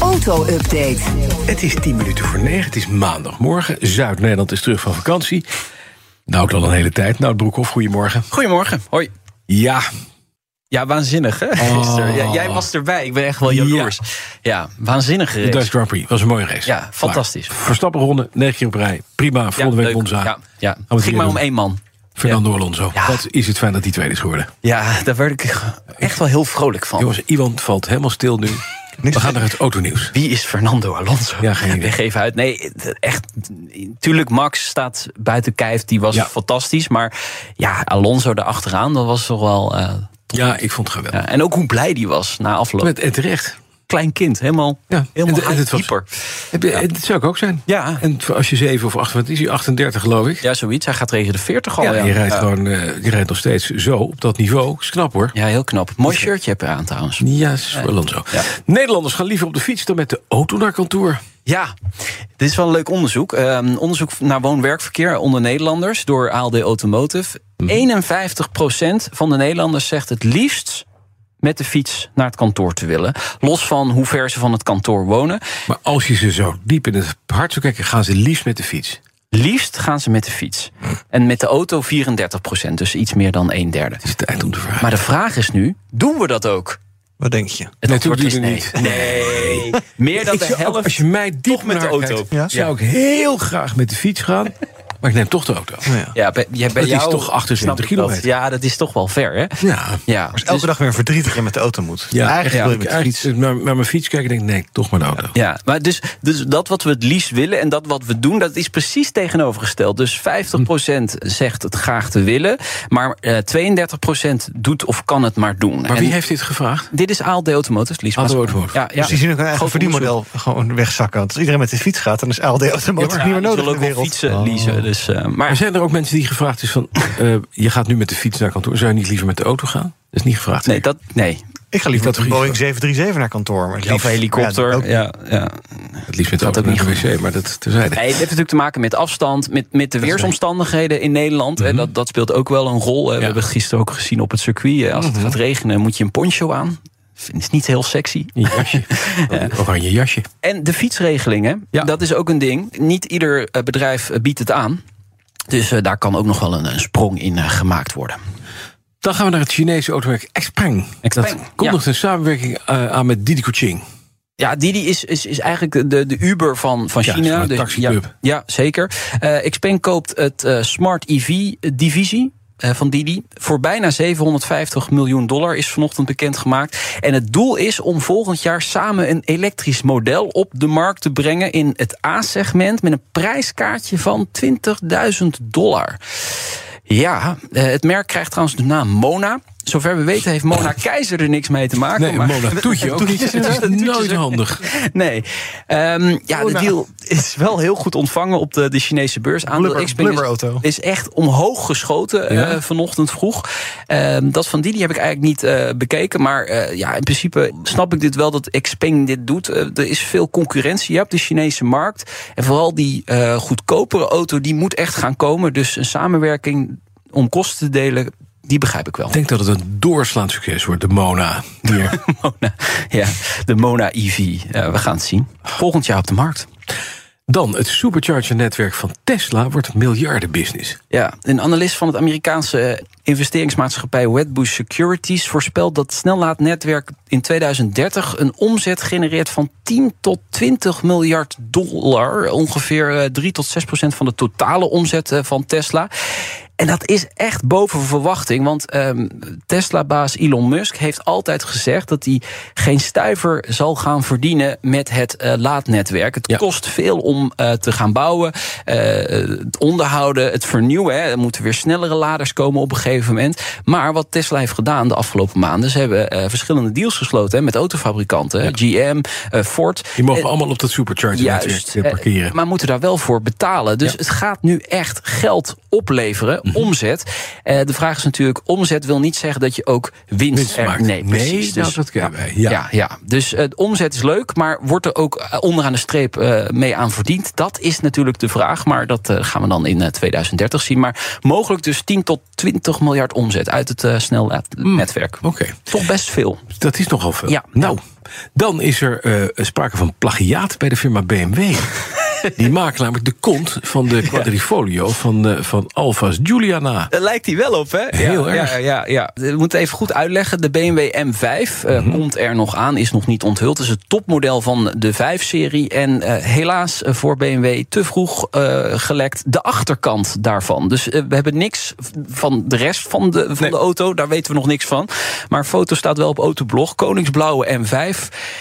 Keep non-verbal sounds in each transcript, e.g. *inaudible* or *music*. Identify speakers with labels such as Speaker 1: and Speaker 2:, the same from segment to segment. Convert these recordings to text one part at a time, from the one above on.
Speaker 1: Auto-update.
Speaker 2: Het is 10 minuten voor 9, het is maandagmorgen. Zuid-Nederland is terug van vakantie. Nou, al een hele tijd. Nou, Broekhoff, goedemorgen.
Speaker 3: Goedemorgen.
Speaker 2: Hoi. Ja,
Speaker 3: Ja, waanzinnig hè?
Speaker 2: Oh.
Speaker 3: *laughs* Gisteren. Ja, jij was erbij. Ik ben echt wel jaloers. Ja, waanzinnig
Speaker 2: de
Speaker 3: gereden.
Speaker 2: Dutch Grand Prix was een mooie race.
Speaker 3: Ja, fantastisch.
Speaker 2: Maar Verstappen ronde, 9 keer op rij. Prima, volgende week Monza.
Speaker 3: Ja, ja.
Speaker 2: we
Speaker 3: Het
Speaker 2: weer
Speaker 3: ging maar om
Speaker 2: Oh, doen.
Speaker 3: één man.
Speaker 2: Fernando Alonso.
Speaker 3: Ja.
Speaker 2: Wat is het fijn dat hij tweede is geworden.
Speaker 3: Ja, daar werd ik echt wel heel vrolijk van.
Speaker 2: Jongens, Iwan valt helemaal stil
Speaker 3: *laughs*
Speaker 2: nu. We gaan naar het autonieuws.
Speaker 3: Wie is Fernando Alonso?
Speaker 2: Ja, geen idee.
Speaker 3: Ik geef uit. Nee, echt. Tuurlijk, Max staat buiten kijf. Die was
Speaker 2: Ja.
Speaker 3: fantastisch. Maar ja, Alonso erachteraan, dat was toch wel... eh,
Speaker 2: Ja, ik vond het geweldig.
Speaker 3: ja. En ook hoe blij die was na afloop.
Speaker 2: Met, en terecht.
Speaker 3: klein kind, helemaal,
Speaker 2: Ja.
Speaker 3: helemaal
Speaker 2: En- en het was-
Speaker 3: hyper.
Speaker 2: Heb je, Dat zou ik ook zijn.
Speaker 3: Ja.
Speaker 2: En als je 7 of 8, wat is hij? 38 geloof ik.
Speaker 3: Ja, zoiets. Hij gaat tegen de 40 al.
Speaker 2: Ja,
Speaker 3: Oh, ja.
Speaker 2: je rijdt
Speaker 3: Ja.
Speaker 2: gewoon eh, je rijdt nog steeds zo op dat niveau. Is knap hoor.
Speaker 3: Ja, heel knap. Mooi shirtje heb je aan trouwens.
Speaker 2: Ja, is wel dan zo.
Speaker 3: Ja.
Speaker 2: Nederlanders gaan liever op de fiets dan met de auto naar kantoor.
Speaker 3: Ja, dit is wel een leuk onderzoek. Ehm, onderzoek naar woon-werkverkeer onder Nederlanders door ALD Automotive. 51% van de Nederlanders zegt het liefst met de fiets naar het kantoor te willen. Los van hoe ver ze van het kantoor wonen.
Speaker 2: Maar als je ze zo diep in het hart zou kijken, gaan ze liefst met de fiets.
Speaker 3: Liefst gaan ze met de fiets. En met de auto 34%, dus iets meer dan een derde.
Speaker 2: Het is tijd om te vragen.
Speaker 3: Maar de vraag is nu, doen we dat ook?
Speaker 4: Wat denk je?
Speaker 3: Het antwoord
Speaker 2: doen
Speaker 3: is
Speaker 2: we
Speaker 3: nee.
Speaker 2: niet.
Speaker 3: Nee. Meer dan
Speaker 2: Ik
Speaker 3: de
Speaker 2: zou ook- als
Speaker 3: helft.
Speaker 2: je mij diep
Speaker 3: toch met
Speaker 2: naar
Speaker 3: de auto.
Speaker 2: kijkt,
Speaker 4: Ja.
Speaker 2: zou ik heel graag met de fiets
Speaker 3: *laughs*
Speaker 2: gaan. Maar ik neem toch de auto.
Speaker 4: Nou ja.
Speaker 3: Oh, Ja, bij, ja, bij
Speaker 2: Dat is
Speaker 3: jou
Speaker 2: toch 28
Speaker 3: snap ik dat.
Speaker 2: kilometer.
Speaker 3: Ja, dat is toch wel ver, hè?
Speaker 2: Ja.
Speaker 3: Ja, dus
Speaker 4: Als je Dus elke dag weer verdrietig in met de auto moet.
Speaker 2: Ja,
Speaker 4: eigenlijk
Speaker 2: ja,
Speaker 4: wil je
Speaker 2: ik
Speaker 4: met de fiets.
Speaker 2: eigenlijk Naar, naar mijn fiets kijken en denk ik, nee, toch maar de auto.
Speaker 3: Ja, maar dus, dus dat wat we het liefst willen en dat wat we doen, dat is precies tegenovergesteld. Dus
Speaker 4: Hm.
Speaker 3: 50% zegt het graag te willen, maar eh 32% doet of kan het maar doen.
Speaker 2: Maar
Speaker 3: En
Speaker 2: wie heeft dit gevraagd?
Speaker 3: Dit is ALD Automotive, Lies.
Speaker 2: ALD Automotive.
Speaker 3: Ja, ja.
Speaker 4: Dus die zien ook een eigen
Speaker 3: Groot onderzoek.
Speaker 4: verdienmodel gewoon wegzakken. Want als iedereen met de fiets gaat, dan is ALD
Speaker 3: Ja,
Speaker 4: automotive
Speaker 3: maar
Speaker 4: niet meer
Speaker 3: die
Speaker 4: nodig
Speaker 3: zullen ook
Speaker 4: in de
Speaker 3: wel
Speaker 4: wereld. Oh.
Speaker 3: fietsen, Lies. Dus, eh,
Speaker 2: Maar
Speaker 3: maar
Speaker 2: zijn er ook mensen die gevraagd is van... eh, je gaat nu met de fiets naar kantoor. Zou je niet liever met de auto gaan? Dat is niet gevraagd.
Speaker 3: nee, dat, nee.
Speaker 4: Ik ga liever
Speaker 2: Dat
Speaker 4: met een
Speaker 2: is-
Speaker 4: Boeing 737 naar kantoor.
Speaker 3: Of
Speaker 4: Maar liever- Ja, ook-
Speaker 3: helikopter. Ja, ja.
Speaker 2: Het liefst met de
Speaker 3: Dat
Speaker 2: auto
Speaker 3: ook
Speaker 2: naar de wc, maar dat terzijde.
Speaker 3: Nee, het heeft natuurlijk te maken met afstand, met, met de weersomstandigheden in Nederland. En dat, dat speelt ook wel een rol. Eh,
Speaker 2: Mhm.
Speaker 3: We
Speaker 2: Ja. Mhm.
Speaker 3: hebben het gisteren ook gezien op het circuit. Eh, Als het gaat regenen, moet je een poncho aan. Vind is niet heel sexy.
Speaker 2: Een *laughs* jasje. Een Oranje jasje.
Speaker 3: En de fietsregelingen,
Speaker 2: Ja.
Speaker 3: dat is ook een ding. Niet ieder eh, bedrijf eh, biedt het aan. Dus eh, daar kan ook nog wel een, een sprong in eh, gemaakt worden.
Speaker 2: Dan gaan we naar het Chinese automerk Xpeng.
Speaker 3: Xpeng,
Speaker 2: Dat kondigt een samenwerking eh, aan met Didi Kuching.
Speaker 3: Ja, Didi is, is, is eigenlijk de, de Uber van, van
Speaker 2: Ja, het is
Speaker 3: China.
Speaker 2: gewoon een
Speaker 3: Dus- ja,
Speaker 2: taxiclub.
Speaker 3: ja, zeker. Eh Xpeng koopt het eh, Smart EV-divisie eh, van Didi. Voor bijna 750 miljoen dollar is vanochtend bekendgemaakt. En het doel is om volgend jaar samen een elektrisch model op de markt te brengen... in het A-segment met een prijskaartje van 20.000 dollar. Ja, eh, het merk krijgt trouwens de naam Mona... Zover we weten heeft
Speaker 2: *laughs*
Speaker 3: Mona Keizer er niks mee te maken.
Speaker 2: Nee,
Speaker 3: maar-
Speaker 2: Mona *laughs* Toetje
Speaker 3: *laughs*
Speaker 2: ook niet. Het is nooit handig.
Speaker 3: Nee. Ehm,
Speaker 4: Oh,
Speaker 3: ja,
Speaker 4: nou.
Speaker 3: de deal is wel heel goed ontvangen op de, de Chinese beurs. Aandeel
Speaker 4: Blubber-
Speaker 3: Xpeng is-
Speaker 4: blubberauto.
Speaker 3: is echt omhoog geschoten
Speaker 2: Ja?
Speaker 3: eh, vanochtend vroeg. Ehm, dat van Didi heb ik eigenlijk niet eh, bekeken. Maar eh, ja, in principe snap ik dit wel dat Xpeng dit doet. Eh, er is veel concurrentie op de Chinese markt. En vooral die eh, goedkopere auto, die moet echt gaan komen. Dus een samenwerking om kosten te delen, die begrijp ik wel.
Speaker 2: Ik denk dat het een doorslaand succes wordt, de Mona. *laughs* Hier.
Speaker 3: Mona, ja, de Mona EV. Ja, we gaan het zien. Volgend jaar op de markt.
Speaker 2: Dan, het supercharger-netwerk van Tesla wordt miljardenbusiness.
Speaker 3: Ja, een analist van het Amerikaanse investeringsmaatschappij Wedbush Securities voorspelt dat het snellaadnetwerk in 2030 een omzet genereert van 10 tot 20 miljard dollar. Ongeveer eh, 3 tot 6 procent van de totale omzet eh, van Tesla. En dat is echt boven verwachting. Want ehm, Tesla-baas Elon Musk heeft altijd gezegd dat hij geen stuiver zal gaan verdienen met het eh, laadnetwerk. Het
Speaker 2: Ja.
Speaker 3: kost veel om eh, te gaan bouwen, eh, het onderhouden, het vernieuwen. Hè. Er moeten weer snellere laders komen op een gegeven moment. Maar wat Tesla heeft gedaan de afgelopen maanden, ze hebben eh, verschillende deals gesloten hè, met autofabrikanten, hè, GM, eh, Ford.
Speaker 2: Die mogen
Speaker 3: En-
Speaker 2: allemaal op dat supercharger-netwerk eh,
Speaker 3: eh,
Speaker 2: parkeren.
Speaker 3: Maar moeten daar wel voor betalen. Dus
Speaker 2: Ja. Mhm.
Speaker 3: het gaat nu echt geld opleveren, omzet. Eh, de vraag is natuurlijk, omzet wil niet zeggen dat je ook winst,
Speaker 2: Winst
Speaker 3: er-
Speaker 2: maakt.
Speaker 3: Nee,
Speaker 2: Nee,
Speaker 3: precies.
Speaker 2: nou,
Speaker 3: Dus-
Speaker 2: dat kunnen wij, ja.
Speaker 3: Ja. Ja, dus eh, de omzet is leuk, maar wordt er ook eh, onderaan de streep eh, mee aan verdiend? Dat is natuurlijk de vraag, maar dat eh, gaan we dan in eh, 2030 zien. Maar mogelijk dus 10 tot 20 miljard omzet uit het eh
Speaker 2: Mm.
Speaker 3: snelnetwerk.
Speaker 2: Oké,
Speaker 3: Toch best veel.
Speaker 2: dat is nogal veel.
Speaker 3: Ja.
Speaker 2: Nou, dan is er eh, sprake van plagiaat bij de firma
Speaker 3: *laughs*
Speaker 2: BMW. Die maakt namelijk de kont van de quadrifolio van, eh, van Alfa's Giuliana.
Speaker 3: Daar Eh, lijkt hij wel op, hè?
Speaker 2: Heel
Speaker 3: ja,
Speaker 2: erg.
Speaker 3: Ja, ja, ja. We moeten even goed uitleggen. De BMW M5 eh,
Speaker 2: Mhm.
Speaker 3: komt er nog aan, is nog niet onthuld. Het is het topmodel van de 5-serie. En eh, helaas eh, voor BMW te vroeg eh, gelekt de achterkant daarvan. Dus eh, we hebben niks v- van de rest van, de, van de auto. Daar weten we nog niks van. Maar foto staat wel op Autoblog. Koningsblauwe M5.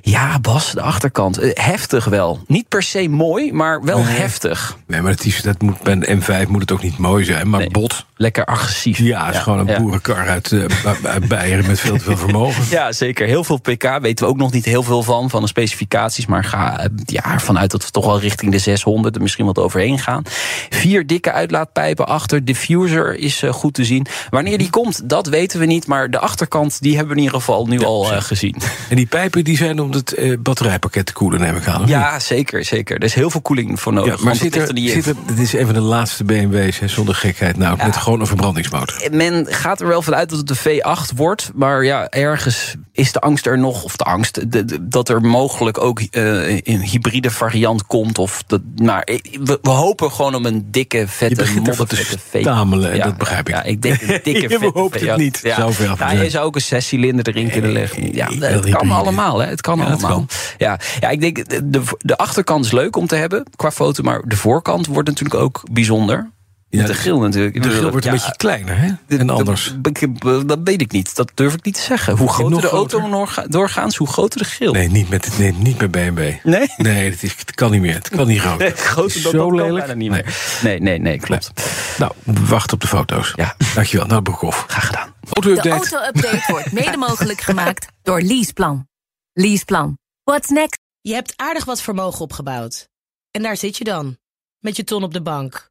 Speaker 3: Ja, Bas, de achterkant. Eh, heftig wel. Niet per se mooi, maar wel heftig.
Speaker 2: Oh, Nee, maar dat is, dat moet, bij een M5 moet het ook niet mooi zijn, maar
Speaker 3: Nee.
Speaker 2: bot.
Speaker 3: Lekker agressief.
Speaker 2: Ja, het is gewoon een
Speaker 3: ja.
Speaker 2: boerenkar uit, eh, uit Beieren met veel te
Speaker 3: *laughs*
Speaker 2: veel vermogen.
Speaker 3: Ja, zeker. Heel veel pk weten we ook nog niet heel veel van, van de specificaties. Maar ga eh, ja, ervan uit dat we toch wel richting de 600 er misschien wat overheen gaan. Vier dikke uitlaatpijpen achter. Diffuser is eh, goed te zien. Wanneer die komt, dat weten we niet. Maar de achterkant, die hebben we in ieder geval nu al eh, gezien. *laughs*
Speaker 2: En die pijpen die zijn om het eh, batterijpakket te koelen, neem ik aan. of niet?
Speaker 3: Ja, zeker, zeker. Er is heel veel koeling voor
Speaker 2: Ja,
Speaker 3: nodig.
Speaker 2: maar
Speaker 3: want dat
Speaker 2: zit er,
Speaker 3: ligt niet in.
Speaker 2: zit er, dit is een van de laatste BMW's, hè, zonder gekheid nou, met gewoon een verbrandingsmotor.
Speaker 3: men gaat er wel vanuit dat het de V8 wordt. Maar ja, ergens is de angst er nog. Of de angst de- de- dat er mogelijk ook eh, een hybride variant komt. Of dat, maar eh, we, we hopen gewoon om een dikke,
Speaker 2: Je
Speaker 3: vette,
Speaker 2: begint ervan te
Speaker 3: moddervette V8.
Speaker 2: stamelen, en dat begrijp ik.
Speaker 3: Ja,
Speaker 2: *laughs*
Speaker 3: ik denk een dikke,
Speaker 2: Je
Speaker 3: vette
Speaker 2: behoopt het
Speaker 3: V8.
Speaker 2: niet, zou ver van
Speaker 3: Ja,
Speaker 2: zijn. Eh,
Speaker 3: je zou ook een zescilinder erin kunnen leggen. Ja,
Speaker 2: heel
Speaker 3: het kan
Speaker 2: hybride.
Speaker 3: allemaal, hè. Het kan
Speaker 2: Ja, dat
Speaker 3: allemaal.
Speaker 2: kan.
Speaker 3: Ja, ja, ik denk, eh, de- de, de achterkant is leuk om te hebben qua foto. Maar de voorkant wordt natuurlijk ook bijzonder.
Speaker 2: Ja,
Speaker 3: Met de grill natuurlijk. Ik
Speaker 2: De
Speaker 3: bedoel,
Speaker 2: grill wordt een
Speaker 3: ja,
Speaker 2: beetje kleiner, hè?
Speaker 3: dit-
Speaker 2: En anders.
Speaker 3: Dat, ik- eh, dat weet ik niet. Dat durf ik niet te zeggen. Hoe groter
Speaker 2: nog
Speaker 3: de auto
Speaker 2: groter.
Speaker 3: noorga- doorgaans, hoe groter de grill.
Speaker 2: Nee, niet met, het- nee, niet met BMW.
Speaker 3: *laughs* Nee?
Speaker 2: Nee, dat is, het kan niet meer. Het kan niet groter.
Speaker 3: Nee, groter
Speaker 2: Het
Speaker 3: dan
Speaker 2: is
Speaker 3: dat kan bijna niet
Speaker 2: Nee.
Speaker 3: meer. Nee, nee, nee, klopt.
Speaker 2: Nou, wacht op de foto's.
Speaker 3: Ja.
Speaker 2: Dankjewel. Nou, Broekhoff.
Speaker 3: Graag gedaan.
Speaker 1: De
Speaker 2: Auto-update.
Speaker 1: auto-update wordt mede mogelijk gemaakt door Leaseplan. Leaseplan. What's next?
Speaker 5: Je hebt aardig wat vermogen opgebouwd. En daar zit je dan, met je ton op de bank.